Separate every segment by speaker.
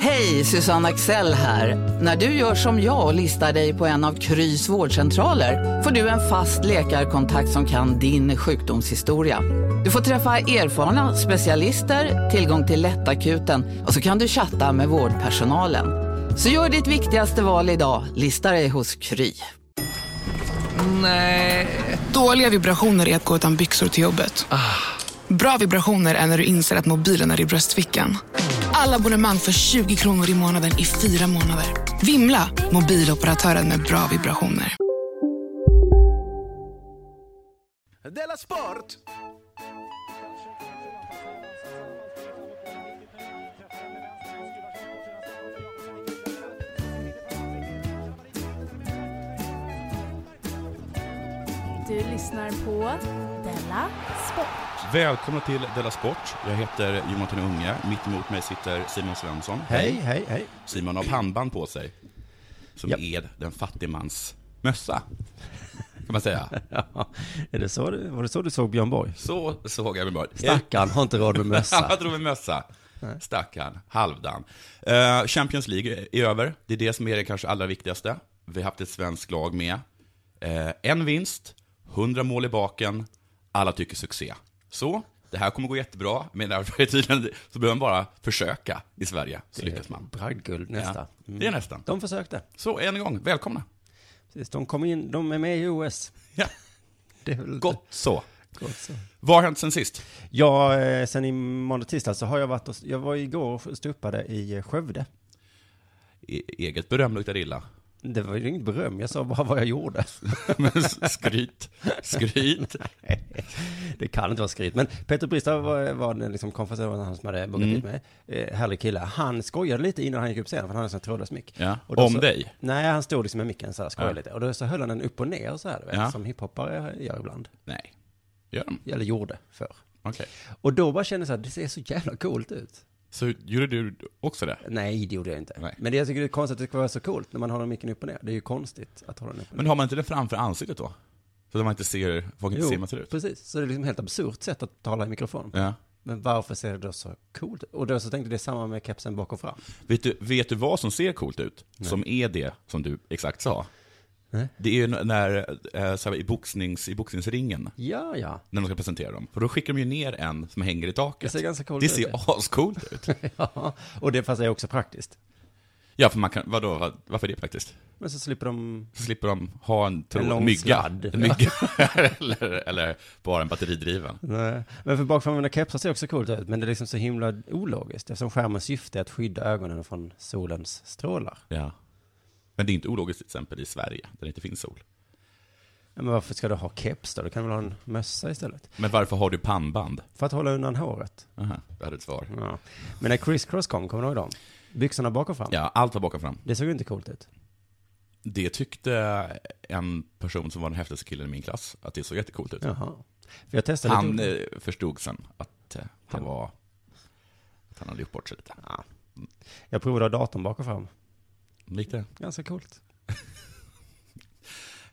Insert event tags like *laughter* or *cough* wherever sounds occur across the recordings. Speaker 1: Hej, Susanne Axel här. När du gör som jag och listar dig på en av Krys vårdcentraler får du en fast läkarkontakt som kan din sjukdomshistoria. Du får träffa erfarna specialister, tillgång till lättakuten och så kan du chatta med vårdpersonalen. Så gör ditt viktigaste val idag, listar dig hos Kry.
Speaker 2: Dåliga vibrationer är att gå utan byxor till jobbet. Bra vibrationer är när du inser att mobilen är i bröstfickan. Alla abonnemang för 20 kronor i månaden i fyra månader. Vimla! Mobiloperatören med bra vibrationer.
Speaker 3: Du lyssnar på Della Sport.
Speaker 4: Välkomna till Della Sport. Jag heter Jonathan Unge. Mitt emot mig sitter Simon Svensson.
Speaker 5: Hej, hej, hej.
Speaker 4: Simon har pannband på sig. Som
Speaker 5: Japp.
Speaker 4: är den fattigmans mössa. Kan
Speaker 5: *laughs*
Speaker 4: man säga.
Speaker 5: Är det så, du- var det så du såg Björn Borg?
Speaker 4: Så såg jag mig bara.
Speaker 5: Stackarn har inte råd med
Speaker 4: *laughs* Han
Speaker 5: mössa.
Speaker 4: drog med mössa. Stackarn. Halvdan. Eh, Champions League är över. Det är det som är det kanske allra viktigaste. Vi har haft ett svenskt lag med. Eh, en vinst, 100 mål i baken. Alla tycker succé. Så, det här kommer gå jättebra, men därför är tydligen, så behöver man bara försöka i Sverige, så lyckas man.
Speaker 5: Bragdguld nästa. Mm.
Speaker 4: Ja, det är nästan.
Speaker 5: De försökte.
Speaker 4: Så, än en gång, välkomna.
Speaker 5: Precis, de kom in, de är med i OS.
Speaker 4: Ja,
Speaker 5: Det är väl *laughs*
Speaker 4: gott så.
Speaker 5: gott så.
Speaker 4: Vad har hänt sen sist?
Speaker 5: Ja, eh, sen i måndag, tisdag så har jag varit och, jag var igår och stupade i eh, Skövde.
Speaker 4: E- eget beröm luktar illa. *laughs*
Speaker 5: Det var ju inget beröm, jag sa bara vad jag gjorde. *laughs*
Speaker 4: Men skryt, skryt.
Speaker 5: *laughs* Det kan inte vara skryt. Men Peter Bristad var, var den liksom konferensen han som hade bokat
Speaker 4: Mm.
Speaker 5: hit mig. Eh, härlig kille. Han skojade lite innan han gick upp scenen för han hade en sån trådlös mick.
Speaker 4: Ja,
Speaker 5: Och då
Speaker 4: om
Speaker 5: så,
Speaker 4: dig?
Speaker 5: Nej, han stod liksom med micken så här, skojade
Speaker 4: Ja.
Speaker 5: lite. Och då så höll han den upp och ner så här, du vet,
Speaker 4: Ja.
Speaker 5: som hiphoppare gör ibland.
Speaker 4: Nej, gör de?
Speaker 5: Eller gjorde förr.
Speaker 4: Okej.
Speaker 5: Och då bara kände jag så här, det ser så jävla coolt ut.
Speaker 4: Så gjorde du också det?
Speaker 5: Nej, det gjorde jag inte.
Speaker 4: Nej.
Speaker 5: Men det jag tycker det är konstigt att det ska vara så coolt när man har den micken upp och ner. Det är ju konstigt att ha den upp och ner.
Speaker 4: Men har man inte det framför ansiktet då? Så att man inte ser, folk inte ser hur man ser ut?
Speaker 5: precis. Så det är liksom helt absurt sätt att tala i mikrofon.
Speaker 4: Ja.
Speaker 5: Men varför ser det då så coolt ut? Och då så tänkte jag det är samma med kepsen bak och fram.
Speaker 4: Vet, du, vet du vad som ser coolt ut? Som är det som du exakt sa?
Speaker 5: Nej.
Speaker 4: Det är ju n- när, eh, så här, i, boxnings, i boxningsringen,
Speaker 5: Ja, ja.
Speaker 4: när de ska presentera dem. För då skickar de ju ner en som hänger i taket.
Speaker 5: Det ser ganska coolt
Speaker 4: Det
Speaker 5: ut,
Speaker 4: ser
Speaker 5: ja.
Speaker 4: ascoolt ut.
Speaker 5: *laughs* ja. Och det fast är också praktiskt.
Speaker 4: Ja, för man kan, vadå, vad- varför är det praktiskt?
Speaker 5: Men så slipper de...
Speaker 4: Så slipper de ha en, tråd,
Speaker 5: En lång
Speaker 4: mygga,
Speaker 5: sladd.
Speaker 4: En mygga *laughs* eller, eller bara en batteridriven.
Speaker 5: Nej. Men för bakframvända kepsar ser också coolt ut, men det är liksom så himla ologiskt eftersom skärmens syfte är att skydda ögonen från solens strålar.
Speaker 4: Ja. Men det är inte ologiskt till exempel i Sverige, där det inte finns sol.
Speaker 5: Ja, Men varför ska du ha keps då? Du kan väl ha en mössa istället?
Speaker 4: Men varför har du pannband?
Speaker 5: För att hålla undan håret.
Speaker 4: Aha, jag hade ett svar.
Speaker 5: Ja. Men när Criss Cross kom, kommer du ihåg dem? Byxorna bak och fram.
Speaker 4: Ja, allt var bakom fram.
Speaker 5: Det såg ju inte coolt ut.
Speaker 4: Det tyckte en person som var den häftigaste killen i min klass, att det såg jättecoolt ut.
Speaker 5: Jaha. För jag testade
Speaker 4: Han
Speaker 5: lite...
Speaker 4: eh, förstod sen att eh, han var... Att han hade gjort bort sig lite.
Speaker 5: Ja. Jag provade att ha datorn bak och fram.
Speaker 4: Lite.
Speaker 5: Ganska coolt.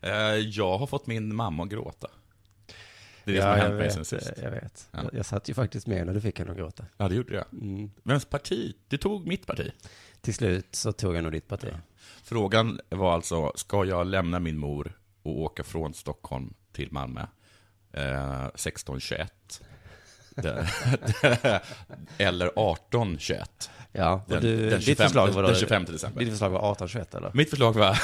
Speaker 4: Eh, Jag har fått min mamma att gråta. Det är det
Speaker 5: Ja,
Speaker 4: som har
Speaker 5: jag
Speaker 4: hänt mig
Speaker 5: vet,
Speaker 4: sen sist.
Speaker 5: Jag vet.
Speaker 4: Ja. Mm.
Speaker 5: Jag, jag satt ju faktiskt med när du fick henne att gråta.
Speaker 4: Ja, det gjorde jag. Vems parti? Du tog mitt parti.
Speaker 5: Till slut så tog jag nog ditt parti.
Speaker 4: Frågan var alltså, ska jag lämna min mor och åka från Stockholm till Malmö eh, 16.21? Det- *laughs* Eller 18.21?
Speaker 5: Ja, och
Speaker 4: Den-
Speaker 5: du,
Speaker 4: den
Speaker 5: ditt
Speaker 4: 25
Speaker 5: förslag var då,
Speaker 4: den 25 december.
Speaker 5: Ditt förslag var 18-21 eller?
Speaker 4: Mitt förslag var...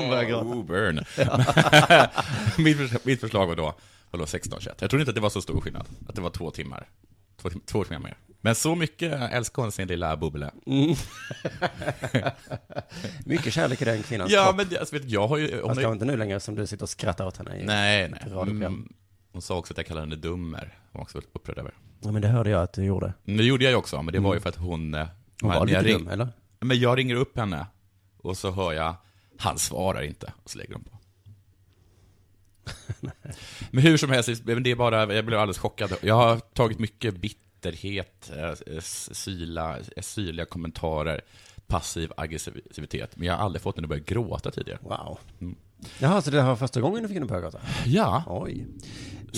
Speaker 5: Hon börjar gråta.
Speaker 4: Oh, burn. *laughs* mitt, förs- mitt förslag var då, vadå 16.21? Jag tror inte att det var så stor skillnad, att det var två timmar. Två, tim- två timmar mer. Men så mycket älskar hon sin lilla bubbla.
Speaker 5: Mycket kärlek i den kvinnans
Speaker 4: Ja,
Speaker 5: kropp.
Speaker 4: men det- alltså, vet, du, jag har ju... hon
Speaker 5: Fast
Speaker 4: har ju-
Speaker 5: kanske inte nu längre som du sitter och skrattar åt henne. i-
Speaker 4: Nej, nej.
Speaker 5: ett radioprogram.
Speaker 4: Mm. Hon sa också att jag kallade henne dummer. Hon var också väldigt upprörd över.
Speaker 5: Ja, men det hörde jag att du gjorde.
Speaker 4: Men Det gjorde jag ju också, men det var ju för att hon... eh,
Speaker 5: Mm. Hon
Speaker 4: när
Speaker 5: var lite
Speaker 4: jag ring-
Speaker 5: dum, eller?
Speaker 4: Men jag ringer
Speaker 5: *laughs*
Speaker 4: upp henne och så hör jag, han svarar inte. Och så lägger hon på. Men hur som helst, men det är bara, jag blev alldeles chockad. Jag har tagit mycket bitterhet, eh, s- syla, eh, syrliga kommentarer, passiv aggressivitet, men jag har aldrig fått henne att börja gråta tidigare.
Speaker 5: Wow.
Speaker 4: Mm.
Speaker 5: Jaha, så det här var första gången du fick henne på Ögatan?
Speaker 4: Ja,
Speaker 5: Oj.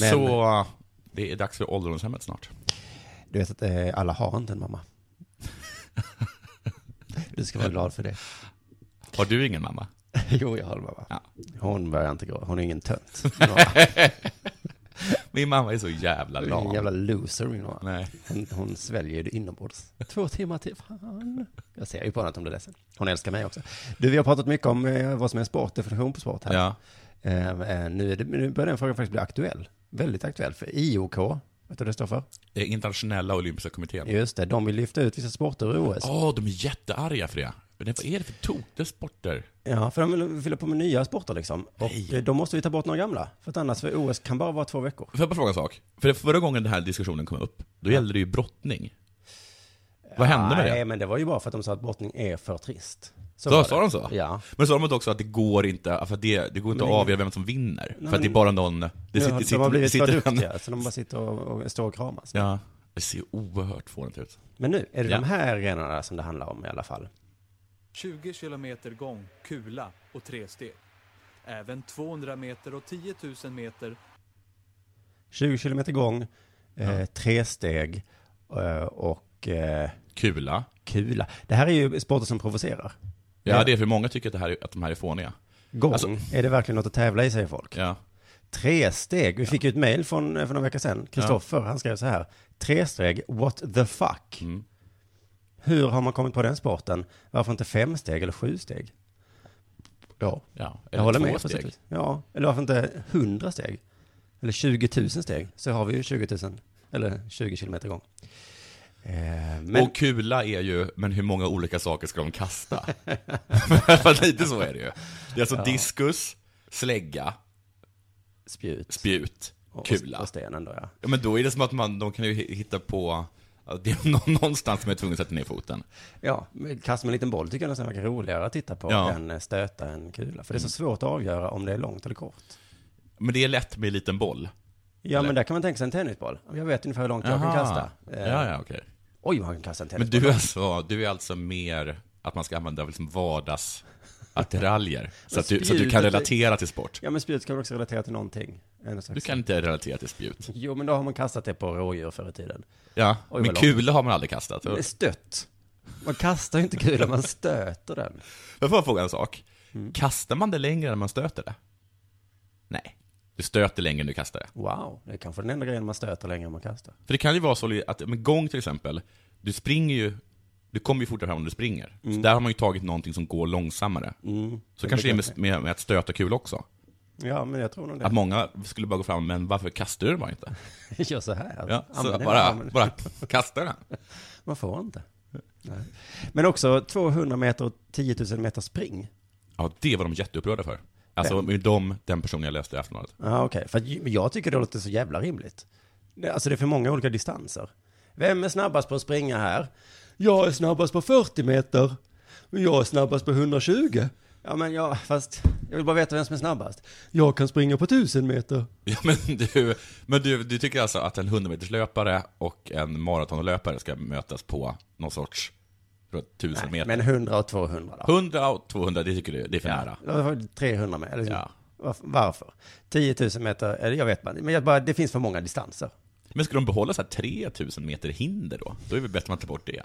Speaker 5: Men
Speaker 4: så det är dags för ålderdomshemmet snart.
Speaker 5: du vet att eh, alla har inte en
Speaker 4: *laughs*
Speaker 5: mamma. Du ska vara glad för det.
Speaker 4: Har du ingen mamma?
Speaker 5: *laughs* Jo, jag har en mamma.
Speaker 4: Ja.
Speaker 5: Hon börjar inte gå. Hon är ingen tönt.
Speaker 4: *laughs* Min mamma är så jävla
Speaker 5: Hon är ingen
Speaker 4: lam.
Speaker 5: jävla loser, min mamma.
Speaker 4: Nej.
Speaker 5: Hon, hon sväljer det inombords. Två timmar till, fan. Jag ser ju på henne att hon blir ledsen. Hon älskar mig också. Du, vi har pratat mycket om eh, vad som är sport, definition på sport här.
Speaker 4: Ja.
Speaker 5: Eh, eh, nu, är det, nu börjar den frågan faktiskt bli aktuell. Väldigt aktuell. För IOK, vet du vad det står för?
Speaker 4: Det är Eh, Internationella olympiska kommittén.
Speaker 5: Just det, de vill lyfta ut vissa sporter ur OS.
Speaker 4: Åh, de är jättearga för det. Men Vad är det för tokiga sporter?
Speaker 5: Ja, för de vill fylla på med nya sporter liksom. Och
Speaker 4: Nej.
Speaker 5: eh, då måste vi ta bort några gamla. För att annars, för OS kan bara vara två veckor.
Speaker 4: Får jag bara fråga en sak? För det- förra gången den här diskussionen kom upp, då gällde det ju brottning. Vad hände med
Speaker 5: Nej,
Speaker 4: det?
Speaker 5: men det var ju bara för att de sa att brottning är för trist. Så var
Speaker 4: Då
Speaker 5: det.
Speaker 4: sa de så?
Speaker 5: Ja.
Speaker 4: Men sa de inte också att det går inte, för att det, det går inte att avgöra vem som vinner? för att det är
Speaker 5: men-
Speaker 4: bara någon... Det
Speaker 5: Nu har- de har blivit för
Speaker 4: en-
Speaker 5: duktiga, så de bara sitter och, och står och kramas.
Speaker 4: Ja. Det ser oerhört fånigt ut.
Speaker 5: Men nu är det
Speaker 4: Ja.
Speaker 5: de här grenarna som det handlar om i alla fall.
Speaker 6: 20 kilometer gång, kula och tre steg. Även 200 meter och 10 000 meter
Speaker 5: 20 kilometer gång, eh, tre steg eh, och eh,
Speaker 4: Kula.
Speaker 5: kula. Det här är ju sporter som provocerar.
Speaker 4: Ja,
Speaker 5: Ja.
Speaker 4: det är för många tycker att, det här, är- att de här är fåniga.
Speaker 5: Gång,
Speaker 4: Alltså-
Speaker 5: är det verkligen något att tävla i säger folk.
Speaker 4: Ja.
Speaker 5: Tre steg, vi fick ju ett mejl från, eh, för några veckor sedan. Kristoffer, han skrev så här. Tre steg, what the fuck?
Speaker 4: Mm.
Speaker 5: Hur har man kommit på den sporten? Varför inte fem steg eller sju steg? Ja.
Speaker 4: ja.
Speaker 5: Jag håller med. på sätt och vis. Ja, eller varför inte 100 steg? Eller 20 000 steg, så har vi ju 20 000, eller 20 kilometer gång. Eh, men
Speaker 4: Och kula är ju, men hur många olika saker ska
Speaker 5: *laughs*
Speaker 4: de kasta? För lite så är det ju. Det är alltså diskus, slägga,
Speaker 5: spjut
Speaker 4: spjut,
Speaker 5: och,
Speaker 4: kula.
Speaker 5: och stenen då ja.
Speaker 4: Ja, men då är det som att man, de kan ju hitta på, att det är *laughs* nå- någonstans som är tvungen att sätta ner foten.
Speaker 5: Ja, men kast med en liten boll tycker jag nästan verkar roligare att titta på
Speaker 4: Ja. Mm.
Speaker 5: än eh, stöta en kula. För det är så svårt att avgöra om det är långt eller kort.
Speaker 4: Men det är lätt med en liten boll.
Speaker 5: Ja, men där kan man tänka sig en tennisboll. Jag vet ungefär hur långt jag kan kasta. Eh,
Speaker 4: Ja, ja, okej.
Speaker 5: Oj, vad man kan kasta en
Speaker 4: Men
Speaker 5: tennisboll.
Speaker 4: du är, alltså, du är alltså mer att man ska använda liksom
Speaker 5: *laughs*
Speaker 4: vardagsattiraljer, så, att du, så att du kan
Speaker 5: spjutet är-
Speaker 4: relatera till sport.
Speaker 5: Ja, men spjut ska väl också relatera till någonting. En
Speaker 4: Du
Speaker 5: slags...
Speaker 4: kan inte relatera till spjut.
Speaker 5: Jo, men då har man kastat det på rådjur förr i tiden.
Speaker 4: Ja,
Speaker 5: Oj,
Speaker 4: men
Speaker 5: vad
Speaker 4: kula har man aldrig kastat.
Speaker 5: Det är Stött. Man kastar ju inte kulan, man stöter den.
Speaker 4: Jag får fråga en sak. Kastar man det längre än man stöter det? Nej. Du stöter längre än du kastar det.
Speaker 5: Wow, det är kanske den enda grejen man stöter längre än man kastar.
Speaker 4: För det kan ju vara så att, men gång till exempel, du springer ju, du kommer ju fortare fram om du springer. Så där har man ju tagit någonting som går långsammare. Så kanske det är med, med, med att stöta kul också.
Speaker 5: Ja, men jag tror nog det. *laughs*
Speaker 4: Att många skulle bara gå fram, men varför kastar du den bara inte?
Speaker 5: Gör så här.
Speaker 4: Ja, så
Speaker 5: Använd den,
Speaker 4: bara,
Speaker 5: använd den.
Speaker 4: bara kasta den.
Speaker 5: Man får inte. Nej. Men också 200 meter och 10 000 meter spring.
Speaker 4: Ja, det var de jätteupprörda för. Alltså, med dem, den personen jag läste i Aftonbladet.
Speaker 5: Ja, okej. För att, ju- men jag tycker det låter så jävla rimligt. Det, alltså det är för många olika distanser. Vem är snabbast på att springa här? Jag är snabbast på 40 meter. Men jag är snabbast på 120. Ja, men jag, fast jag vill bara veta vem som är snabbast. Jag kan springa på 1000 meter.
Speaker 4: *laughs* Ja, men du, men du, du tycker alltså att en 100-meterslöpare och en maratonlöpare ska mötas på någon sorts tror jag, 1000 meter?
Speaker 5: Men 100 och 200 då?
Speaker 4: 100 och 200, det tycker du, det är för nära?
Speaker 5: Ja, det var 300 med. Eller,
Speaker 4: Ja.
Speaker 5: varf- Varför? 10 000 meter, eller jag vet inte. Men jag bara, det finns för många distanser.
Speaker 4: Men ska de behålla så här 3000 meter hinder då? Då är det väl bättre att man tar bort det.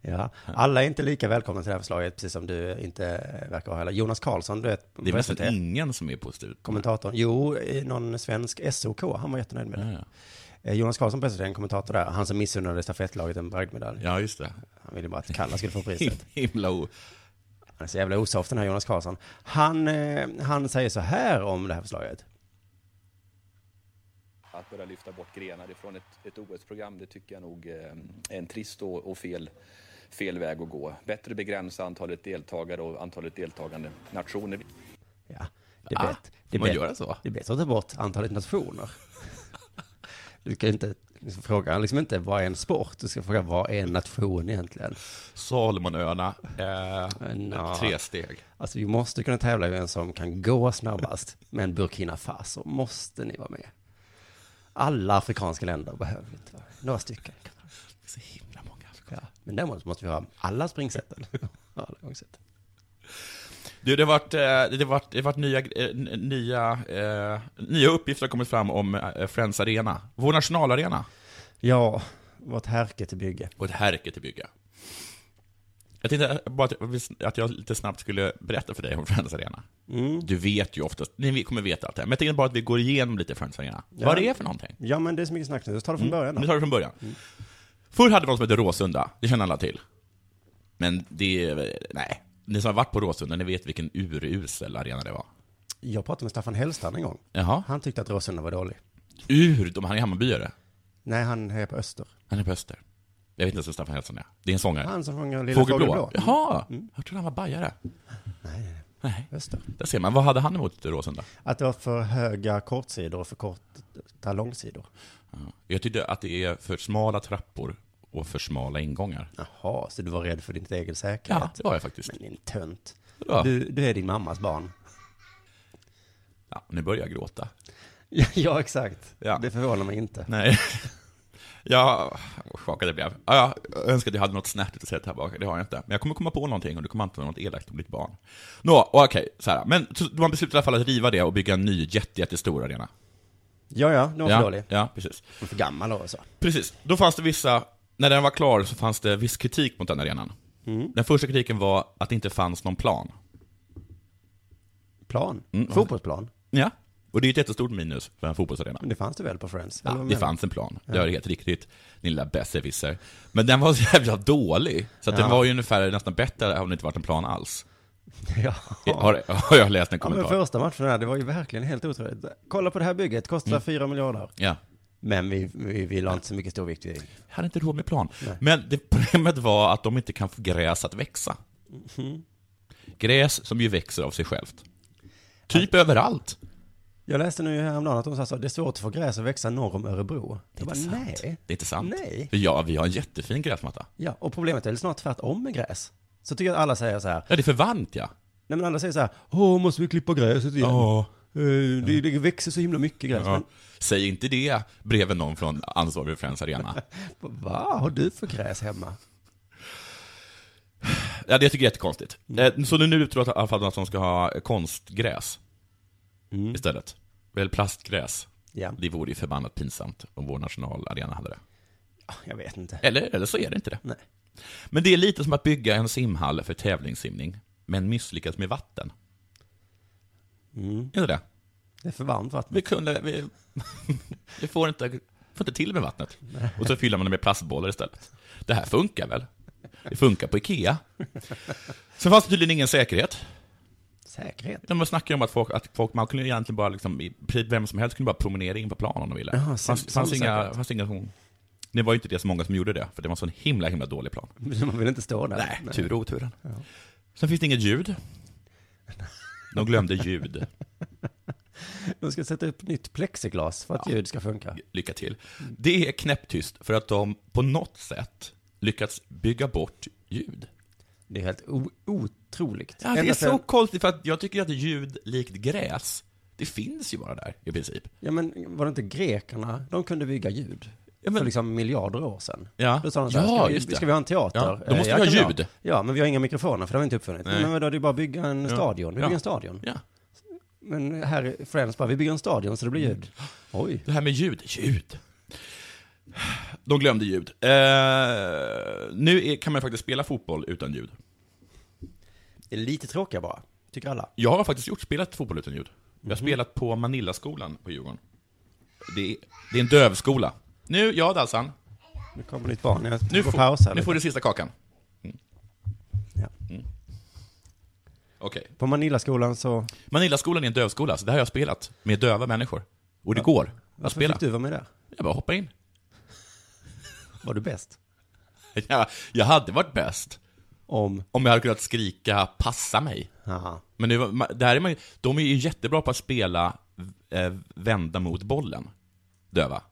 Speaker 5: Ja. Alla är inte lika välkomna till det här förslaget, precis som du inte verkar ha heller. Jonas Karlsson, du vet,
Speaker 4: Det är
Speaker 5: på
Speaker 4: väl
Speaker 5: SVT,
Speaker 4: nästan ingen som är positiv.
Speaker 5: kommentatorn. Jo, eh, någon svensk SOK, han var jättenöjd med det. Eh, Jonas Karlsson på SVT, en kommentator där, han som missunnade stafettlaget en bragdmedalj.
Speaker 4: Ja, just det.
Speaker 5: Han ville bara att Kalla skulle
Speaker 4: *laughs*
Speaker 5: få priset.
Speaker 4: Himla o...
Speaker 5: Han är så jävla osoft den här Jonas Karlsson. Han, eh, han säger så här om det här förslaget.
Speaker 7: Att börja lyfta bort grenar ifrån ett, ett OS-program, det tycker jag nog eh, är en trist och, och fel, fel väg att gå. Bättre begränsa antalet deltagare och antalet deltagande nationer.
Speaker 5: Ja, det är
Speaker 4: Ah,
Speaker 5: bett- det är
Speaker 4: man
Speaker 5: bett-
Speaker 4: gör det så? *laughs*
Speaker 5: Det är bättre att ta bort antalet nationer. Du kan ju inte frågar liksom inte vad är en sport, du ska fråga vad är en nation egentligen?
Speaker 4: Salomonöarna, eh, tre steg.
Speaker 5: Alltså vi måste kunna tävla i vem som kan gå snabbast, men Burkina Faso måste ni vara med. Alla afrikanska länder behöver vi inte vara med. Några stycken.
Speaker 4: Så himla många
Speaker 5: Ja, men däremot måste vi ha alla springsätten. *laughs* alla gångsätten.
Speaker 4: Du, det har varit, eh, det har varit, det har varit nya, eh, n- nya, eh, nya uppgifter har kommit fram om eh, Friends Arena. Vår nationalarena.
Speaker 5: Ja, vårt härke till bygge.
Speaker 4: Och ett härke till bygga. Jag tänkte eh, bara att jag, att jag lite snabbt skulle berätta för dig om Friends Arena. Du vet ju oftast, ni kommer veta allt det här, men jag tänkte bara att vi går igenom lite Friends Arena. Vad det är för någonting.
Speaker 5: Ja, men det är så mycket snack nu, så ta det från början
Speaker 4: Nu
Speaker 5: då.
Speaker 4: tar vi från början. Förr hade vi något som hette Råsunda, det känner alla till. Men det, är- nej. Ni som har varit på Råsunda, ni vet vilken urusel arena det var.
Speaker 5: Jag pratade med Staffan Hellstrand en gång.
Speaker 4: Jaha.
Speaker 5: Han tyckte att Råsunda var dålig.
Speaker 4: Ur, de, han är Hammarbyare.
Speaker 5: Nej, han hejar på Öster. Han
Speaker 4: är på Öster. Jag vet inte ens vem Staffan Hellstrand är. Det är en sångare.
Speaker 5: Han som sjunger Lilla Fågelblå.
Speaker 4: Jaha, jag trodde han var bajare. Nej,
Speaker 5: Öster.
Speaker 4: Där ser man. Vad hade han emot Råsunda?
Speaker 5: Att det var för höga kortsidor och för korta långsidor.
Speaker 4: Jag tyckte att det är för smala trappor och för smala ingångar.
Speaker 5: Jaha, så du var rädd för din egen säkerhet?
Speaker 4: Ja, det var jag faktiskt.
Speaker 5: Men din tönt.
Speaker 4: Ja.
Speaker 5: Du, du är din mammas barn.
Speaker 4: Ja, nu börjar jag gråta.
Speaker 5: *laughs* Ja, ja exakt.
Speaker 4: Ja.
Speaker 5: Det förvånar mig inte.
Speaker 4: Nej. *laughs* Ja, vad chockad jag blev. Ja, ja, jag önskar att jag hade något snärtigt att säga här bak, det har jag inte. Men jag kommer komma på någonting och du kommer antagligen något elakt om ditt barn. Nå, och okej, så här. Men så- man beslutade i alla fall att riva det och bygga en ny jätte, jättestor arena.
Speaker 5: Ja, ja, den var för
Speaker 4: Ja,
Speaker 5: dålig.
Speaker 4: ja, precis.
Speaker 5: Den var För gammal alltså. och så.
Speaker 4: Precis, då fanns det vissa, när den var klar så fanns det viss kritik mot den arenan.
Speaker 5: Mm.
Speaker 4: Den första kritiken var att det inte fanns någon plan.
Speaker 5: Plan. Fotbollsplan.
Speaker 4: Ja. Och det är ett jättestort minus för en fotbollsarena.
Speaker 5: Men det fanns det väl på Friends?
Speaker 4: Ja,
Speaker 5: Eller vad
Speaker 4: det
Speaker 5: menar
Speaker 4: fanns en plan, det är helt riktigt, din lilla besserwisser. Men den var så jävla dålig, så att den
Speaker 5: Ja.
Speaker 4: var ju ungefär nästan bättre om det inte varit en plan alls.
Speaker 5: du? Ja.
Speaker 4: Har, har jag läst en
Speaker 5: Ja, men
Speaker 4: kommentar? Ja,
Speaker 5: första matchen här, det var ju verkligen helt otroligt. Kolla på det här bygget, kostar 4 miljarder. Mm. Men vi, vi, vi la inte så mycket stor vikt vid det.
Speaker 4: Jag hade inte råd med plan. Men det, problemet var att de inte kan få gräs att växa. Mhm. Gräs som ju växer av sig självt. Typ överallt.
Speaker 5: Jag läste nu häromdagen att de sa så, det är svårt att få gräs att växa norr om Örebro. Jag bara,
Speaker 4: inte sant.
Speaker 5: nej.
Speaker 4: Det är inte sant.
Speaker 5: Nej.
Speaker 4: För ja, vi har en jättefin gräsmatta.
Speaker 5: Ja, och problemet är väl snart tvärtom med gräs. Så tycker jag att alla säger så här,
Speaker 4: Ja, det är för varmt ja.
Speaker 5: nej men alla säger så här, åh måste vi klippa gräset igen?
Speaker 4: Ja.
Speaker 5: Eh, Det, det växer så himla mycket gräs.
Speaker 4: ja. Säg inte det bredvid någon från ansvarig för Friends Arena.
Speaker 5: Men vad har du för gräs hemma?
Speaker 4: Ja, det tycker jag är jättekonstigt. Eh, Så nu- nu tror jag i alla fall att de ska ha konstgräs istället. Eller plastgräs.
Speaker 5: Ja.
Speaker 4: Det vore ju förbannat pinsamt om vår nationalarena hade det.
Speaker 5: Jag vet inte.
Speaker 4: Eller, eller så är det inte det.
Speaker 5: Nej.
Speaker 4: Men det är lite som att bygga en simhall för tävlingssimning, men misslyckas med vatten.
Speaker 5: Mm.
Speaker 4: Är det det?
Speaker 5: Det är för varmt vatten.
Speaker 4: Vi kunde... Vi, *laughs* vi får, inte, får inte till med vattnet. Och så fyller man det med plastbollar istället. Det här funkar väl? Det funkar på Ikea. Sen fanns det tydligen ingen säkerhet.
Speaker 5: Säkerhet. *laughs*
Speaker 4: De snackade om att folk, att folk man kunde egentligen bara liksom, i princip vem som helst kunde bara promenera in på plan om de ville.
Speaker 5: Jaha,
Speaker 4: Det fanns,
Speaker 5: så-
Speaker 4: fanns,
Speaker 5: så
Speaker 4: inga,
Speaker 5: säkert.
Speaker 4: fanns inga som, Det var ju inte det så många som gjorde det, för det var en sån himla, himla dålig plan.
Speaker 5: Man vill inte stå där.
Speaker 4: Nej, typ. tur och oturen. Sen finns det inget ljud. De glömde ljud.
Speaker 5: De ska sätta upp nytt plexiglas för att ljud ska funka.
Speaker 4: Lycka till. Det är knäpptyst för att de på något sätt lyckats bygga bort ljud.
Speaker 5: Det är helt o- otroligt.
Speaker 4: Ja, det
Speaker 5: Ända
Speaker 4: är så
Speaker 5: sedan-
Speaker 4: konstigt, för att jag tycker att ljud likt gräs, det finns ju bara där i princip.
Speaker 5: Ja, men var det inte grekerna, de kunde bygga ljud?
Speaker 4: men-
Speaker 5: För liksom miljarder år sedan.
Speaker 4: Ja.
Speaker 5: Då sa de så här,
Speaker 4: Ja,
Speaker 5: ska, vi,
Speaker 4: just det.
Speaker 5: ska vi ha en teater?
Speaker 4: Ja, då
Speaker 5: Eh,
Speaker 4: måste
Speaker 5: jag
Speaker 4: vi ha
Speaker 5: kan
Speaker 4: ljud.
Speaker 5: Ja, men vi har inga mikrofoner för det har vi inte uppfunnit.
Speaker 4: Nej.
Speaker 5: Men då det är bara att bygga en stadion, vi
Speaker 4: Ja.
Speaker 5: bygger en stadion.
Speaker 4: Ja.
Speaker 5: Men här är Friends bara, vi bygger en stadion så det
Speaker 4: Mm.
Speaker 5: blir ljud. Oj.
Speaker 4: Det här med ljud, ljud. De glömde ljud. Eh, nu är, kan man faktiskt spela fotboll utan ljud.
Speaker 5: Det är lite tråkiga bara, tycker alla.
Speaker 4: Jag har faktiskt gjort, spelat fotboll utan ljud. Jag har
Speaker 5: Mhm.
Speaker 4: spelat på Manillaskolan på Djurgården. Det är, det är en dövskola. Nu, ja Dalsan.
Speaker 5: Nu kommer ditt barn, jag
Speaker 4: Nu,
Speaker 5: får pausa.
Speaker 4: får, nu får du sista kakan.
Speaker 5: Ja.
Speaker 4: Okej.
Speaker 5: På Manillaskolan så,
Speaker 4: Manillaskolan är en dövskola, så det här har jag spelat med döva människor. Och det går att
Speaker 5: varför
Speaker 4: spela.
Speaker 5: fick du vara med där?
Speaker 4: Jag bara hoppar in. *laughs*
Speaker 5: Var du bäst?
Speaker 4: Jag, jag hade varit bäst
Speaker 5: Om,
Speaker 4: om jag hade kunnat skrika 'passa mig'
Speaker 5: haha,
Speaker 4: Men nu, var- ma- där är man, ju- de är ju jättebra på att spela eh, vända mot bollen, döva.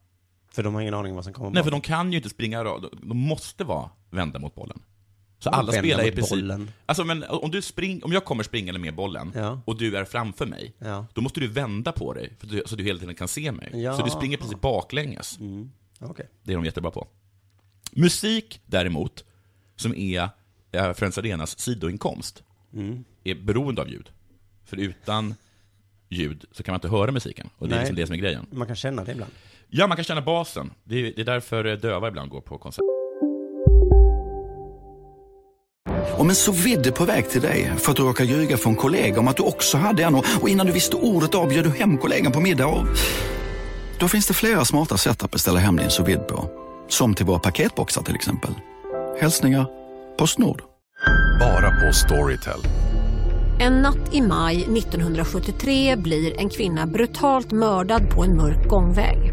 Speaker 5: För de har ingen aning om vad som kommer
Speaker 4: Nej, för
Speaker 5: bakom.
Speaker 4: de kan ju inte springa rad. De måste vara vända mot bollen. Så
Speaker 5: Vadå
Speaker 4: alla
Speaker 5: vända
Speaker 4: spelar i
Speaker 5: mot
Speaker 4: princip...
Speaker 5: bollen?
Speaker 4: Alltså, men om, du spring, om jag kommer springande med bollen
Speaker 5: Ja.
Speaker 4: och du är framför mig,
Speaker 5: Ja.
Speaker 4: då måste du vända på dig för att du, så du hela tiden kan se mig.
Speaker 5: Ja. Mm.
Speaker 4: Så du springer precis baklänges.
Speaker 5: Okej.
Speaker 4: Det är de jättebra på. Musik däremot, som är eh, Friends Arenas sidoinkomst,
Speaker 5: Mm.
Speaker 4: är beroende av ljud. För utan ljud så kan man inte höra musiken. Och det är
Speaker 5: Nej.
Speaker 4: liksom det som är grejen.
Speaker 5: Man kan känna det ibland.
Speaker 4: Ja, man kan känna basen. Det är, det är därför eh, döva ibland går på konserter.
Speaker 8: Om en så vidde på väg till dig för att du råkar ljuga från kollega om att du också hade en och och innan du visste ordet av bjöd du hem kollegan på middag och... Då finns det flera smarta sätt att beställa hem din sous vide på. Som till våra paketboxar till exempel. Hälsningar Postnord.
Speaker 9: Bara på Storytel.
Speaker 10: En natt i maj 1973 blir en kvinna brutalt mördad på en mörk gångväg.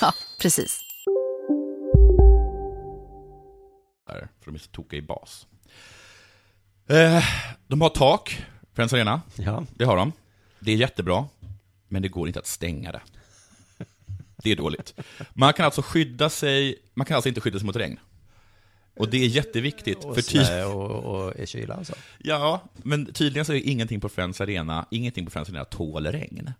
Speaker 11: Ja, precis.
Speaker 4: För de är så tokiga i bas. Eh, de har tak, Friends Arena.
Speaker 5: Ja.
Speaker 4: Det har de. Det är jättebra, men det går inte att stänga det. Det är dåligt. Man kan alltså skydda sig, man kan alltså inte skydda sig mot regn. Och det är jätteviktigt.
Speaker 5: Och
Speaker 4: för typ- ty-
Speaker 5: snö och, och i kyla och så.
Speaker 4: Ja, men tydligen så är ingenting på Friends Arena, ingenting på Friends Arena tål regn.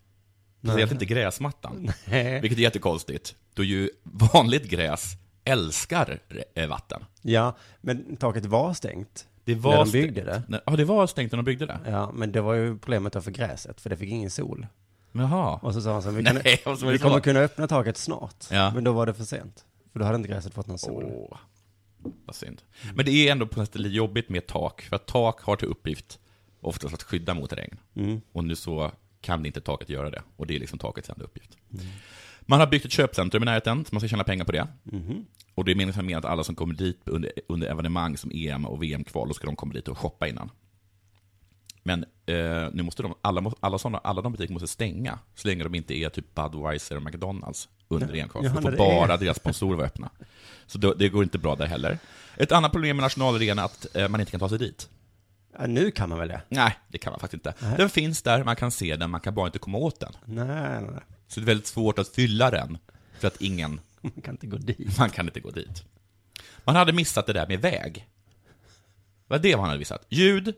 Speaker 4: Speciellt
Speaker 5: Nej.
Speaker 4: inte gräsmattan.
Speaker 5: *laughs* Nej.
Speaker 4: Vilket är jättekonstigt, då ju vanligt gräs älskar re- eh, vatten.
Speaker 5: Ja, men taket var stängt.
Speaker 4: Det var
Speaker 5: när de
Speaker 4: stängt.
Speaker 5: byggde det.
Speaker 4: Nej, Ja, det var stängt när de byggde det.
Speaker 5: Ja, men det var ju problemet då för gräset, för det fick ingen sol.
Speaker 4: Jaha.
Speaker 5: Och så sa han så här, vi,
Speaker 4: Nej,
Speaker 5: kan,
Speaker 4: vad som är
Speaker 5: vi
Speaker 4: så?
Speaker 5: kommer kunna öppna taket snart.
Speaker 4: Ja.
Speaker 5: Men då var det för sent. För då hade inte gräset fått någon sol.
Speaker 4: Vad synd. Men det är ändå på något sätt lite jobbigt med tak, för att tak har till uppgift oftast att skydda mot regn.
Speaker 5: Mm.
Speaker 4: Och nu så kan inte taket göra det, och det är liksom takets enda uppgift.
Speaker 5: Mm.
Speaker 4: Man har byggt ett köpcentrum i närheten, så man ska tjäna pengar på det.
Speaker 5: Mhm.
Speaker 4: Och det är meningen med att alla som kommer dit under, under evenemang som EM och VM-kval, då ska de komma dit och shoppa innan. Men eh, nu måste de, alla, må- alla, såna, alla de butiker måste stänga, så länge de inte är typ Budweiser och McDonalds under
Speaker 5: Ja,
Speaker 4: EM-kvalet. Då
Speaker 5: Johanna,
Speaker 4: får
Speaker 5: det
Speaker 4: bara
Speaker 5: är-
Speaker 4: deras sponsorer vara öppna. Så då, det går inte bra där heller. Ett annat problem med nationalarenan är att eh, man inte kan ta sig dit.
Speaker 5: Ja, nu kan man väl det?
Speaker 4: Nej, det kan man faktiskt inte.
Speaker 5: Nej.
Speaker 4: Den finns där, man kan se den, man kan bara inte komma åt den.
Speaker 5: Nej, nej, nej.
Speaker 4: Så det är väldigt svårt att fylla den, för att ingen...
Speaker 5: Man kan inte gå dit.
Speaker 4: Man kan inte gå dit. Man hade missat det där med väg. Vad det var han hade missat? Ljud,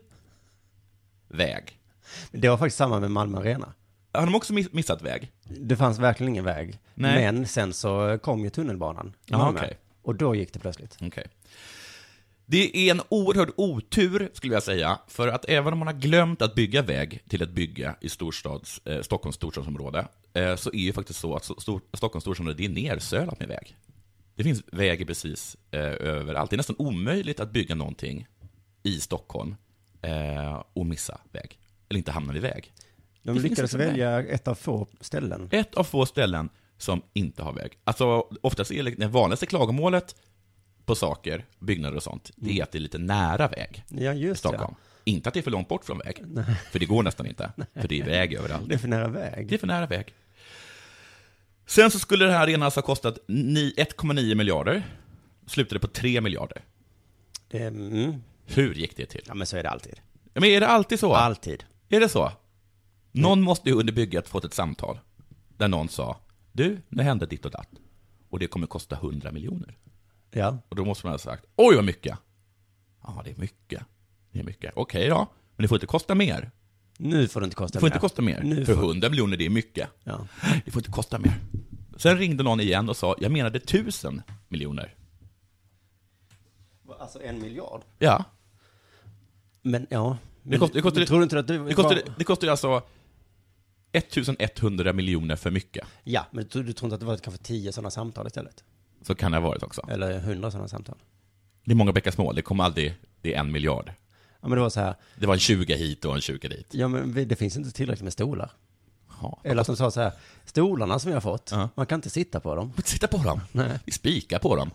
Speaker 4: väg.
Speaker 5: Men Det var faktiskt samma med Malmö Arena.
Speaker 4: Har de också miss- missat väg?
Speaker 5: Det fanns verkligen ingen väg.
Speaker 4: Nej.
Speaker 5: Men sen så kom ju tunnelbanan i
Speaker 4: Jaha,
Speaker 5: Malmö.
Speaker 4: okej.
Speaker 5: Och då gick det plötsligt.
Speaker 4: Okej. Det är en oerhörd otur, skulle jag säga, för att även om man har glömt att bygga väg till ett bygge i storstads, eh, Stockholms storstadsområde, eh, så är ju faktiskt så att so- stor, Stockholms storstadsområde det är nersölat med väg. Det finns väg precis eh, överallt. Det är nästan omöjligt att bygga någonting i Stockholm eh, och missa väg, eller inte hamna vid väg.
Speaker 5: De
Speaker 4: Det finns
Speaker 5: lyckades
Speaker 4: liksom
Speaker 5: välja ett av få ställen.
Speaker 4: Ett av få ställen som inte har väg. Alltså, oftast är det det vanligaste klagomålet på saker, byggnader och sånt, det är att det är lite nära väg
Speaker 5: Ja,
Speaker 4: i
Speaker 5: just
Speaker 4: Stockholm. Inte att det är för långt bort från väg, för det går nästan inte, för det är väg överallt.
Speaker 5: Det är för nära väg.
Speaker 4: Det är för nära väg. Sen så skulle den här arenan alltså ha kostat ni- 1,9 miljarder, slutade på 3 miljarder.
Speaker 5: Det, mm.
Speaker 4: Hur gick det till?
Speaker 5: Ja, men så är det alltid.
Speaker 4: Men är det alltid så?
Speaker 5: Alltid.
Speaker 4: Är det så? Någon måste ju under bygget fått ett samtal där någon sa Du, nu hände ditt och datt och det kommer kosta 100 miljoner.
Speaker 5: Ja.
Speaker 4: Och då måste man ha sagt Oj vad mycket! Ja, det är mycket. Det är mycket. Okej då, men det får inte kosta mer.
Speaker 5: Nu får det inte kosta
Speaker 4: Det får
Speaker 5: mer.
Speaker 4: inte kosta mer.
Speaker 5: Nu
Speaker 4: för
Speaker 5: får-
Speaker 4: 100 miljoner, det är mycket.
Speaker 5: Ja.
Speaker 4: Det får inte kosta mer. Sen ringde någon igen och sa Jag menade 1000 miljoner.
Speaker 5: Alltså en miljard.
Speaker 4: Ja.
Speaker 5: Men ja.
Speaker 4: Det
Speaker 5: Men
Speaker 4: kostar, det kostar,
Speaker 5: tror du inte att du...
Speaker 4: det kostar, det kostar alltså 1100 miljoner för mycket.
Speaker 5: Ja, men du, du tror inte att det var kanske tio sådana samtal istället?
Speaker 4: Så kan det ha varit också.
Speaker 5: Eller hundra sådana samtal?
Speaker 4: Det är många bäckar små, det kommer aldrig, det är en miljard.
Speaker 5: Ja, men det var så här.
Speaker 4: Det var en 20 hit och en 20 dit.
Speaker 5: Ja, men vi, det finns inte tillräckligt med stolar. Eller att de sa så här, stolarna som jag har fått, man kan inte sitta på dem.
Speaker 4: Sitta på dem?
Speaker 5: Nej.
Speaker 4: Vi spikar
Speaker 5: *laughs*
Speaker 4: på dem.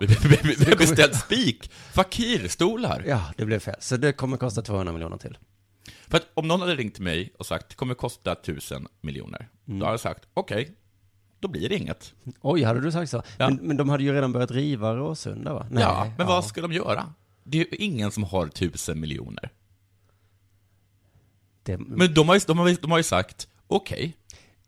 Speaker 4: Vi, vi, vi, vi har beställt spik, fakirstolar.
Speaker 5: Ja, det blev fel. Så det kommer kosta 200 miljoner till.
Speaker 4: För att om någon hade ringt till mig och sagt det kommer kosta tusen miljoner,
Speaker 5: Mm.
Speaker 4: då hade jag sagt okej, då blir det inget.
Speaker 5: Oj, hade du sagt så? Men, men de hade ju redan börjat riva Råsunda va?
Speaker 4: ja, men vad ska de göra? Det är ju ingen som har tusen
Speaker 5: Mm.
Speaker 4: miljoner.
Speaker 5: Det-
Speaker 4: Men de har ju, de har, ju- de har ju sagt okej.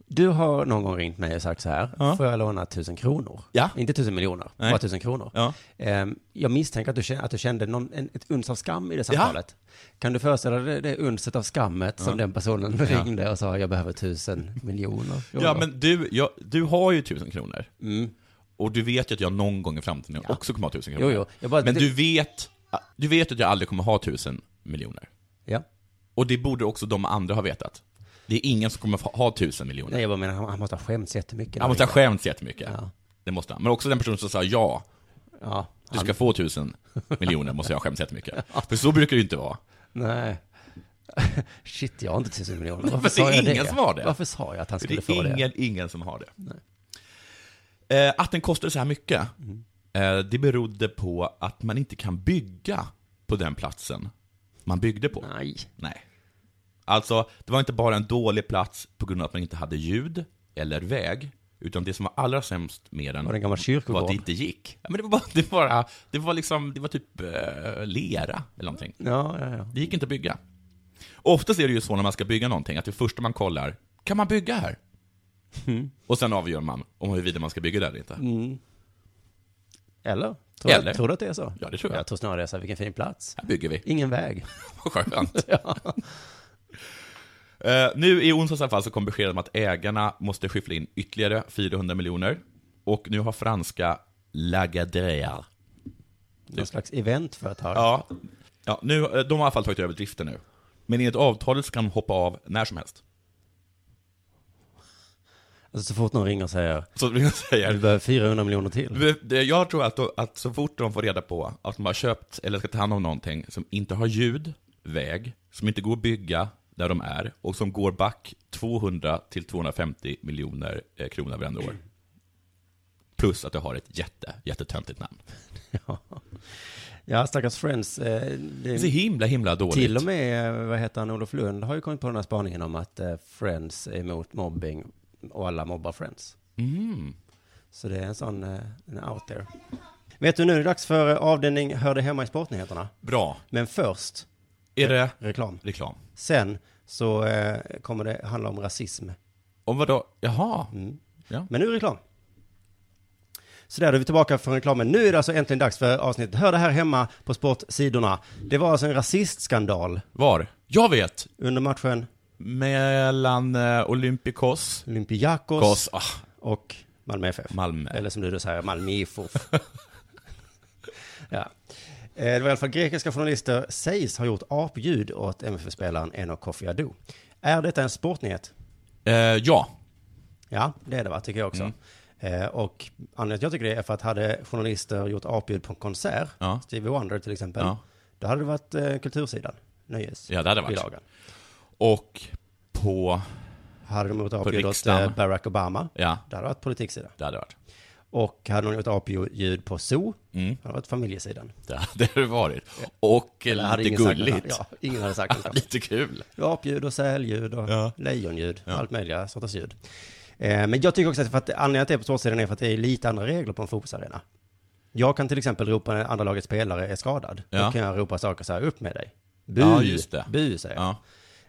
Speaker 5: Du har någon gång ringt mig och sagt så här, får jag låna tusen kronor?
Speaker 4: Ja.
Speaker 5: Inte tusen miljoner,
Speaker 4: Nej.
Speaker 5: bara tusen kronor.
Speaker 4: Ja.
Speaker 5: Ehm, Jag misstänker att du kände, att du kände någon, en, ett uns av skam i det samtalet. Kan du föreställa dig det unset av skammet som den personen *laughs*
Speaker 4: Ja.
Speaker 5: ringde och sa, jag behöver tusen miljoner kronor?
Speaker 4: Ja, men du, jag, du har ju tusen kronor. Och du vet ju att jag någon gång i framtiden också kommer ha tusen kronor.
Speaker 5: Mm. Jo, jo. Jag bara-
Speaker 4: men
Speaker 5: det-
Speaker 4: du vet, du vet att jag aldrig kommer ha tusen miljoner.
Speaker 5: Ja.
Speaker 4: Och det borde också de andra ha vetat. Det är ingen som kommer ha tusen miljoner.
Speaker 5: Nej, jag bara menar, han, han måste ha skämts jättemycket.
Speaker 4: Han måste ha skämts jättemycket. Det måste han. Men också den personen som sa ja.
Speaker 5: Ja,
Speaker 4: Du ska få tusen miljoner måste jag ha skämts jättemycket.
Speaker 5: *laughs*
Speaker 4: För så brukar det ju inte vara.
Speaker 5: Nej. *laughs* Shit, jag har inte tusen miljoner.
Speaker 4: Varför
Speaker 5: Varför sa
Speaker 4: det är
Speaker 5: jag
Speaker 4: ingen
Speaker 5: det?
Speaker 4: som har det.
Speaker 5: Varför sa jag att han
Speaker 4: För
Speaker 5: skulle
Speaker 4: det är
Speaker 5: få det?
Speaker 4: ingen, ingen som har det. Eh, att den kostade så här mycket,
Speaker 5: Mm.
Speaker 4: eh, det berodde på att man inte kan bygga på den platsen man byggde på.
Speaker 5: Nej.
Speaker 4: Nej. Alltså, det var inte bara en dålig plats på grund av att man inte hade ljud eller väg, utan det som var allra sämst med den
Speaker 5: Var det en gammal
Speaker 4: var att det
Speaker 5: kyrkogård?
Speaker 4: inte gick. Ja, men det var, bara, det var, det var liksom, det var typ eh, lera eller någonting.
Speaker 5: Ja, ja, ja.
Speaker 4: Det gick inte att bygga. Oftast är det ju så när man ska bygga någonting, att det första man kollar, kan man bygga här? Och sen avgör man om huruvida man ska bygga där eller inte.
Speaker 5: Mm. Eller? Tror,
Speaker 4: Eller?
Speaker 5: Du, tror du att det är så?
Speaker 4: Ja, det tror jag.
Speaker 5: Jag tror snarare det är så här, vilken fin plats.
Speaker 4: Här bygger vi. *laughs*
Speaker 5: Ingen väg.
Speaker 4: Vad skönt.
Speaker 5: ja.
Speaker 4: Eh, nu i onsdags i alla fall så kom besked om att ägarna måste skyffla in ytterligare 400 miljoner. Och nu har franska Lagardère.
Speaker 5: Någon slags eventföretag.
Speaker 4: Ja, ja nu, eh, de har i alla fall tagit över driften nu. Men enligt avtalet så kan de hoppa av när som helst.
Speaker 5: Alltså, så fort någon ringer och säger,
Speaker 4: Så vill jag säga,
Speaker 5: du behöver 400 miljoner till.
Speaker 4: Det- det- Jag tror att, att så fort de får reda på att de har köpt eller ska ta hand om någonting som inte har ljud, väg, som inte går att bygga där de är och som går back 200 till 250 miljoner eh, kronor varenda år. Plus att det har ett jätte, jättetöntigt namn.
Speaker 5: *laughs* Ja, ja stackars Friends. Eh,
Speaker 4: Det är så himla, himla dåligt.
Speaker 5: Till och med, eh, vad heter han, Olof Lund har ju kommit på den här spaningen om att eh, Friends är emot mobbing och alla mobbar Friends.
Speaker 4: Mm.
Speaker 5: Så det är en sån, eh, en out there. Vet du, nu är det dags för eh, avdelning Hör det hemma i sportnyheterna.
Speaker 4: Bra.
Speaker 5: Men först,
Speaker 4: Är det
Speaker 5: reklam.
Speaker 4: reklam?
Speaker 5: Sen så eh, kommer det handla om rasism.
Speaker 4: Om vadå? Jaha.
Speaker 5: Mm.
Speaker 4: Ja.
Speaker 5: Men nu är det reklam. Så där då är vi tillbaka från reklamen. Nu är det alltså äntligen dags för avsnittet Hör det här hemma på sportsidorna. Det var alltså en rasistskandal
Speaker 4: Var? Jag vet!
Speaker 5: under matchen
Speaker 4: Mellan eh, Olympikos,
Speaker 5: Olympiakos
Speaker 4: Kos, ah,
Speaker 5: och Malmö FF.
Speaker 4: Malmö.
Speaker 5: Eller som du då säger, Malmö IFO. *laughs* ja. Eh, Det var i alla fall grekiska journalister sägs ha gjort apljud åt MFF-spelaren Eno Kofi Adu. Är detta en sportnyhet?
Speaker 4: Eh, ja.
Speaker 5: Ja, det är det va, tycker jag också.
Speaker 4: Mm.
Speaker 5: Eh, och anledningen till att jag tycker det är för att hade journalister gjort apljud på en konsert,
Speaker 4: Ja.
Speaker 5: Stevie Wonder till exempel,
Speaker 4: Ja.
Speaker 5: då hade det varit eh, kultursidan, nöjes.
Speaker 4: Ja, det hade det varit.
Speaker 5: bilagan.
Speaker 4: Och på...
Speaker 5: Hade de gjort apljud åt
Speaker 4: riksdagen.
Speaker 5: eh, Barack Obama,
Speaker 4: Ja,
Speaker 5: det hade varit politiksidan.
Speaker 4: det hade varit.
Speaker 5: Och hade de gjort apljud på zoo,
Speaker 4: Mm.
Speaker 5: det hade varit familjesidan.
Speaker 4: Det hade det varit. Och eh,
Speaker 5: Eller hade
Speaker 4: lite
Speaker 5: ingen sagt
Speaker 4: gulligt.
Speaker 5: något. Ja, ingen hade sagt något.
Speaker 4: *laughs* lite kul.
Speaker 5: Apljud och sälljud och
Speaker 4: Ja.
Speaker 5: lejonljud,
Speaker 4: Ja.
Speaker 5: allt möjliga sorters ljud. Eh, men jag tycker också att, för att anledningen att det är på sportsidan är för att det är lite andra regler på en fotbollsarena. Jag kan till exempel ropa när andra lagets spelare är skadad.
Speaker 4: Ja.
Speaker 5: Då kan jag ropa saker så här, upp med dig. Bu,
Speaker 4: Ja, just det.
Speaker 5: bu säger jag.
Speaker 4: Ja.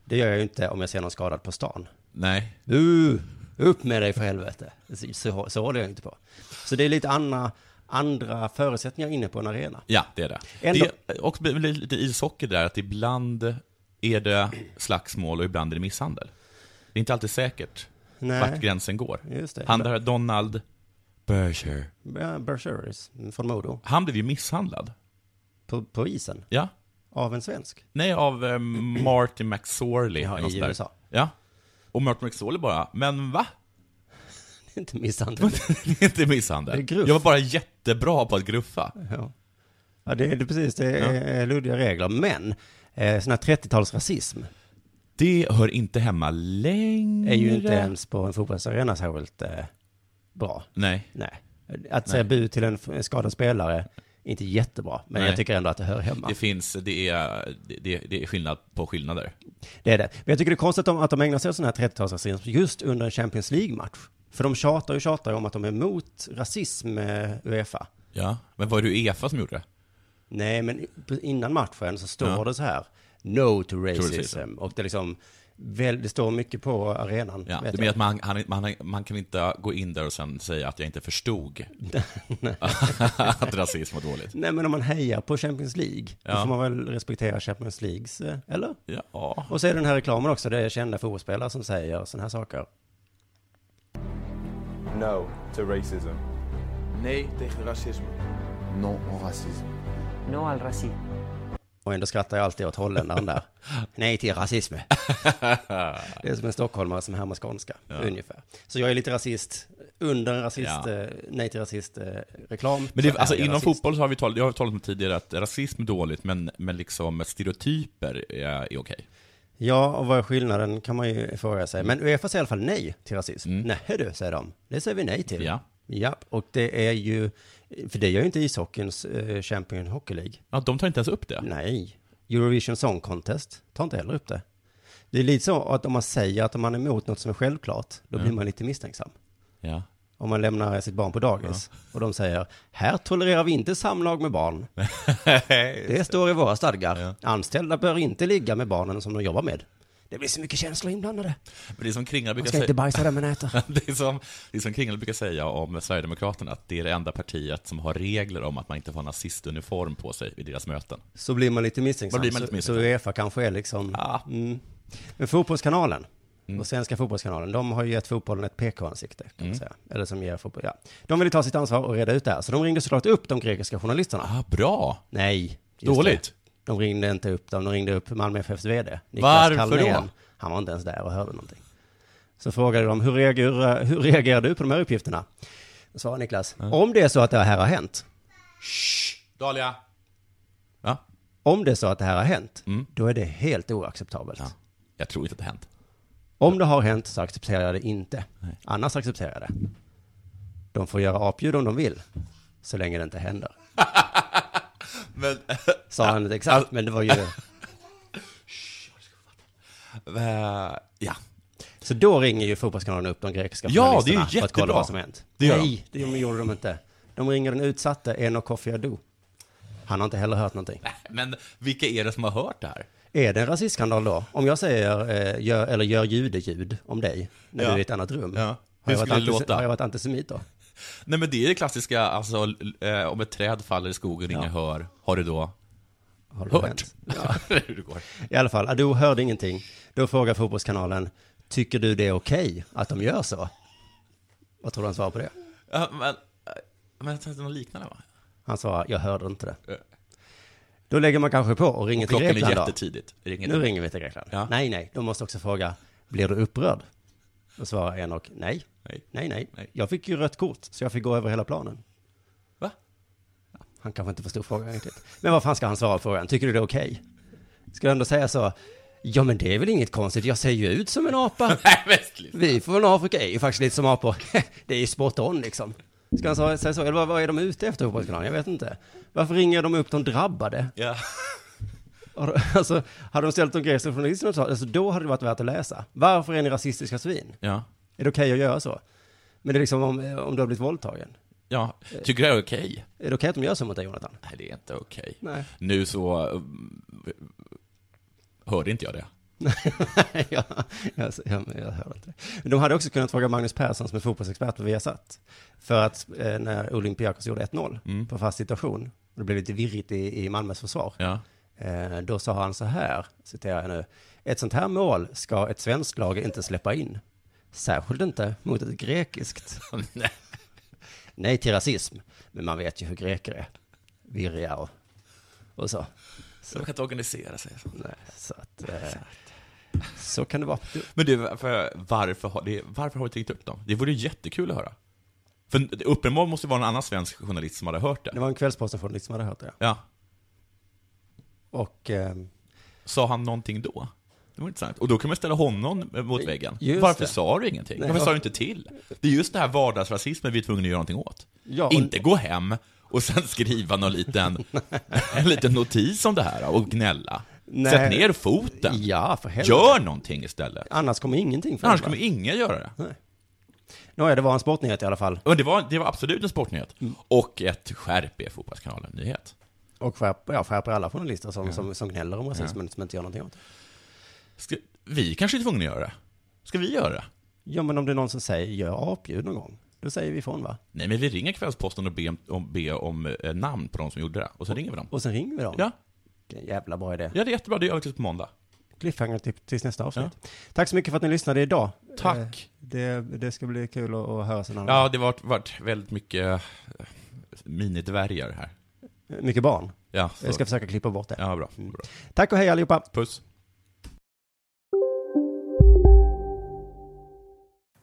Speaker 5: Det gör jag ju inte om jag ser någon skadad på stan.
Speaker 4: Nej.
Speaker 5: Bu, upp med dig för helvete. Så, så, så håller jag inte på. Så det är lite andra, andra förutsättningar inne på en arena.
Speaker 4: Ja, det är det.
Speaker 5: Ändå-
Speaker 4: Det är också lite ishockey där, att ibland är det slagsmål och ibland är det misshandel. Det är inte alltid säkert
Speaker 5: Nej.
Speaker 4: vart gränsen går.
Speaker 5: Just det.
Speaker 4: Han där, Donald Berger,
Speaker 5: Ja, Bergerus från Modo.
Speaker 4: han blev ju misshandlad.
Speaker 5: På, på isen.
Speaker 4: Ja.
Speaker 5: Av en svensk. *laughs*
Speaker 4: Nej, av eh, Martin McSorley.
Speaker 5: Ja,
Speaker 4: något
Speaker 5: i
Speaker 4: sånt där.
Speaker 5: USA.
Speaker 4: Ja. Och Martin McSorley bara, men va? *laughs*
Speaker 5: Det är inte misshandel.
Speaker 4: Det är inte misshandel.
Speaker 5: Det är gruff.
Speaker 4: Jag var bara jättebra på att gruffa.
Speaker 5: Ja, eh, ja det är det är precis. Det är luddiga regler. Men eh, sån här 30-talsrasism,
Speaker 4: Det hör inte hemma längre.
Speaker 5: Är ju inte ens på en fotbollsarena särskilt eh, bra.
Speaker 4: Nej.
Speaker 5: Nej. Att säga
Speaker 4: Nej.
Speaker 5: bu till en f- en skadad spelare, inte jättebra, men
Speaker 4: Nej.
Speaker 5: jag tycker ändå att det hör hemma.
Speaker 4: Det finns, det är, det, det är skillnad på skillnader.
Speaker 5: Det är det. Men jag tycker det är konstigt att de, att de ägnar sig åt sån här 30-talsrasism just under en Champions League-match. För de tjatar och tjatar om att de är emot rasism, eh, Uefa.
Speaker 4: Ja, men var det Uefa som gjorde det?
Speaker 5: Nej, men i- innan matchen så står
Speaker 4: Ja.
Speaker 5: det så här, no to
Speaker 4: racism.
Speaker 5: racism. Och det är liksom, väl, det står mycket på arenan.
Speaker 4: Ja,
Speaker 5: vet
Speaker 4: du menar
Speaker 5: jag.
Speaker 4: att man, han, man, man kan inte gå in där och sen säga att jag
Speaker 5: *laughs*
Speaker 4: inte förstod *laughs* att rasism var dåligt?
Speaker 5: Nej, men om man hejar på Champions League, då
Speaker 4: Ja.
Speaker 5: får man väl respektera Champions Leagues, eh, eller?
Speaker 4: Ja.
Speaker 5: Och så är det den här reklamen också, där det är kända fotbollsspelare som säger sådana här saker.
Speaker 12: No to racism.
Speaker 13: Nej tegen racisme.
Speaker 12: No racism.
Speaker 13: No al racism.
Speaker 5: Och ändå skrattar jag alltid åt holländaren
Speaker 4: *laughs*
Speaker 5: där. Nej till rasism. Det är som en stockholmare som härmar skånska,
Speaker 4: Ja.
Speaker 5: ungefär. Så jag är lite rasist under en rasist,
Speaker 4: Ja.
Speaker 5: eh, nej till rasist-reklam.
Speaker 4: Men det, alltså, inom fotboll så har vi talat, jag har talat om tidigare att rasism är dåligt, men, men liksom stereotyper är, är okej.
Speaker 5: Ja, och vad är skillnaden kan man ju fråga sig. Men Uefa säger i alla fall nej till rasism. Nej du, säger de. Det säger vi nej till.
Speaker 4: Mm. Ja.
Speaker 5: Ja, och det är ju, för det gör ju inte ishockeyns eh, Champion Hockey League.
Speaker 4: Ja, de tar inte ens upp det.
Speaker 5: Nej. Eurovision Song Contest tar inte heller upp det. Det är lite så att om man säger att man är emot något som är självklart, då
Speaker 4: Ja.
Speaker 5: blir man lite misstänksam.
Speaker 4: Ja. *laughs*
Speaker 5: Om man lämnar sitt barn på dagis och de säger, här tolererar vi inte samlag med barn. det står i våra stadgar. Anställda bör inte ligga med barnen som de jobbar med. Det blir så mycket känslor inblandade.
Speaker 4: Men det är som Kringla brukar
Speaker 5: Man ska inte bajsa där man äter.
Speaker 4: *laughs* det, är som, det är som Kringla brukar säga om Sverigedemokraterna, att det är det enda partiet som har regler om att man inte får ha nazistuniform på sig vid deras möten.
Speaker 5: Så blir man lite misstänksam.
Speaker 4: Då blir man lite misstänksam.
Speaker 5: Så, så Uefa kanske är liksom... Mm. Men Fotbollskanalen
Speaker 4: Mm.
Speaker 5: och Svenska Fotbollskanalen, de har ju gett fotbollen ett PK-ansikte, kan man säga. Eller som ger fotboll, ja. De ville ta sitt ansvar och reda ut det här, så de ringde såklart upp de grekiska journalisterna.
Speaker 4: Ah, bra!
Speaker 5: Nej. just
Speaker 4: Dåligt.
Speaker 5: det. De ringde inte upp dem, de ringde upp Malmö FFs VD.
Speaker 4: Varför då?
Speaker 5: Han var inte ens där och hörde någonting. Så frågade de, hur reagerar, hur reagerar du på de här uppgifterna? Då svarade Niklas, om det är så att det här har hänt,
Speaker 4: Dahlia!
Speaker 5: om det är så att det här har hänt,
Speaker 4: Mm.
Speaker 5: då är det helt oacceptabelt.
Speaker 4: Jag tror inte att det har hänt.
Speaker 5: Om det har hänt så accepterar jag det inte. Annars accepterar jag det. De får göra apljud om de vill, så länge det inte händer.
Speaker 4: *laughs* Men, Alltså-
Speaker 5: Sa han inte exakt, men det var ju...
Speaker 4: Eh, ja.
Speaker 5: Så då ringer ju Fotbollskanalen upp de grekiska
Speaker 4: Ja, det är ju
Speaker 5: journalisterna för att
Speaker 4: jättebra.
Speaker 5: kolla vad som hänt.
Speaker 4: Det gör de.
Speaker 5: Nej, det gjorde de inte. De ringer den utsatte Eno Kofi Adu. Han har inte heller hört någonting.
Speaker 4: *laughs* Men vilka är det som har hört det här?
Speaker 5: Är det en rasistskandal då? Om jag säger, eh, gör, eller gör judeljud om dig, när
Speaker 4: Ja.
Speaker 5: du är i ett annat rum.
Speaker 4: Ja.
Speaker 5: Har,
Speaker 4: Hur
Speaker 5: jag varit
Speaker 4: skulle det
Speaker 5: antis-
Speaker 4: låta?
Speaker 5: har jag varit antisemit då?
Speaker 4: Nej men det är det klassiska, alltså l- eh, om ett träd faller i skogen och ingen hör, har du då
Speaker 5: det
Speaker 4: hört?
Speaker 5: hänt?
Speaker 4: Ja. *laughs* Hur det går.
Speaker 5: I alla fall, Ado hörde ingenting. Då frågar Fotbollskanalen, tycker du det är okej att de gör så? Vad tror du han svarar på det?
Speaker 4: Ja, men, eh, men jag tänkte något liknande va?
Speaker 5: Han svarar, jag hörde inte det. Då lägger man kanske på och ringer till
Speaker 4: klockan är
Speaker 5: Eh, Grekland då.
Speaker 4: jättetidigt. Ring inte.
Speaker 5: nu ringer vi till Grekland.
Speaker 4: Ja.
Speaker 5: Nej, nej, de måste också fråga, blir du upprörd? Då svarar Enok, nej. Nej. nej, nej, Jag fick ju rött kort, så jag fick gå över hela planen.
Speaker 4: Va?
Speaker 5: Ja, Han kanske inte förstod frågan riktigt. Men vad fan ska han svara på frågan? Tycker du det är okej? Ska jag ändå säga så? Ja, men det är väl inget konstigt. Jag ser ju ut som en *laughs* apa. Vi från Afrika är ju faktiskt lite som apor. *laughs* det är ju spot on liksom. Ska han sa- säga så? Eller vad, vad är de ute efter Fotbollskanalen? Jag vet inte. Varför ringer de upp de drabbade?
Speaker 4: Ja.
Speaker 5: Har de- *laughs* Alltså, hade de ställt de grekiska journalisterna och sa, alltså då hade det varit värt att läsa. Varför är ni rasistiska svin?
Speaker 4: Ja.
Speaker 5: Är det okej att göra så? Men det är liksom om, om du har blivit våldtagen.
Speaker 4: Ja, tycker du det är okej?
Speaker 5: Är det okej att de gör så mot dig, Jonathan? *laughs*
Speaker 4: Nej, det är inte okej.
Speaker 5: Nej.
Speaker 4: Nu så mm, hörde inte jag det.
Speaker 5: ja, jag, jag, jag hör inte. Men de hade också kunnat fråga Magnus Persson som är fotbollsexpert på Viasat. För att eh, när Olympiakos gjorde 1-0 på fast situation, och det blev lite virrigt i, i Malmös försvar,
Speaker 4: Ja.
Speaker 5: eh, då sa han så här, citerar jag nu, ett sånt här mål ska ett svenskt lag inte släppa in. Särskilt inte mot ett grekiskt. Nej till rasism, men man vet ju hur greker är. Virriga och, och så.
Speaker 4: De kan inte organisera sig.
Speaker 5: Nej, så att... Eh, så kan det vara.
Speaker 4: Men du, varför, varför, har, det, varför har vi tänkt upp dem? Det vore ju jättekul att höra. För uppenbarligen måste det vara någon annan svensk journalist som hade hört det.
Speaker 5: Det var en Kvällsposten-journalist som hade hört det.
Speaker 4: Ja.
Speaker 5: Och... Eh,
Speaker 4: Sa han någonting då? Det var intressant. Och då kan man ställa honom mot väggen.
Speaker 5: Just
Speaker 4: Varför
Speaker 5: det.
Speaker 4: sa du ingenting?
Speaker 5: Nej.
Speaker 4: Varför sa du inte till? Det är just det här vardagsrasismen vi är tvungna att göra någonting åt.
Speaker 5: Ja, och-
Speaker 4: Inte gå hem och sen *laughs* skriva
Speaker 5: *laughs*
Speaker 4: någon liten, en liten notis om det här och gnälla.
Speaker 5: Nej.
Speaker 4: Sätt ner foten.
Speaker 5: Ja, för helvete.
Speaker 4: Gör någonting istället.
Speaker 5: Annars kommer ingenting
Speaker 4: Annars kommer ingen göra det.
Speaker 5: Nej. Nåja, det var en sportnyhet i alla fall.
Speaker 4: Men det var, det var absolut en sportnyhet.
Speaker 5: Mm.
Speaker 4: Och ett skärp er Fotbollskanalen-nyhet.
Speaker 5: Och skärper, ja, skärper alla journalister som,
Speaker 4: Ja.
Speaker 5: som, som gnäller om rasismen som inte gör någonting åt det.
Speaker 4: Ska, vi kanske är tvungna att göra det. Ska vi göra det?
Speaker 5: Ja, men om det är någon som säger gör apljud någon gång, då säger vi ifrån va?
Speaker 4: Nej, men vi ringer Kvällsposten och ber om, om, ber om eh, namn på de som gjorde det. Och sen ringer vi dem.
Speaker 5: Och sen ringer vi dem.
Speaker 4: Ja.
Speaker 5: Det är en jävla bra idé.
Speaker 4: Ja, det är jättebra. Det gör vi tills på måndag.
Speaker 5: Cliffhanger till, tills nästa avsnitt. Tack så mycket för att ni lyssnade idag.
Speaker 4: Tack.
Speaker 5: Eh, Det, det ska bli kul att, att höra sen.
Speaker 4: Ja, det har varit, varit väldigt mycket eh, minidvärgar här.
Speaker 5: Mycket barn.
Speaker 4: Ja, så.
Speaker 5: Jag ska försöka klippa bort det.
Speaker 4: Ja, bra. bra.
Speaker 5: Tack och hej allihopa.
Speaker 4: Puss.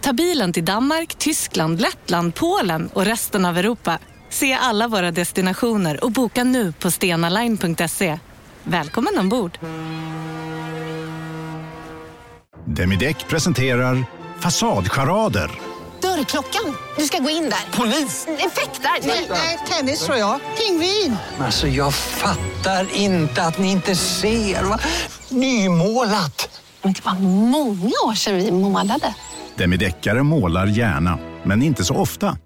Speaker 10: Ta bilen till Danmark, Tyskland, Lettland, Polen och resten av Europa. Se alla våra destinationer och boka nu på stenaline.se. Välkommen ombord!
Speaker 2: Demideck presenterar Fasadcharader.
Speaker 14: Dörrklockan. Du ska gå in där. Polis? Effektar? Nej, tennis tror jag. Pingvin.
Speaker 15: Alltså jag fattar inte att ni inte ser. Va? Nymålat!
Speaker 16: Men det var många år sedan vi målade.
Speaker 2: Demideckare målar gärna, men inte så ofta.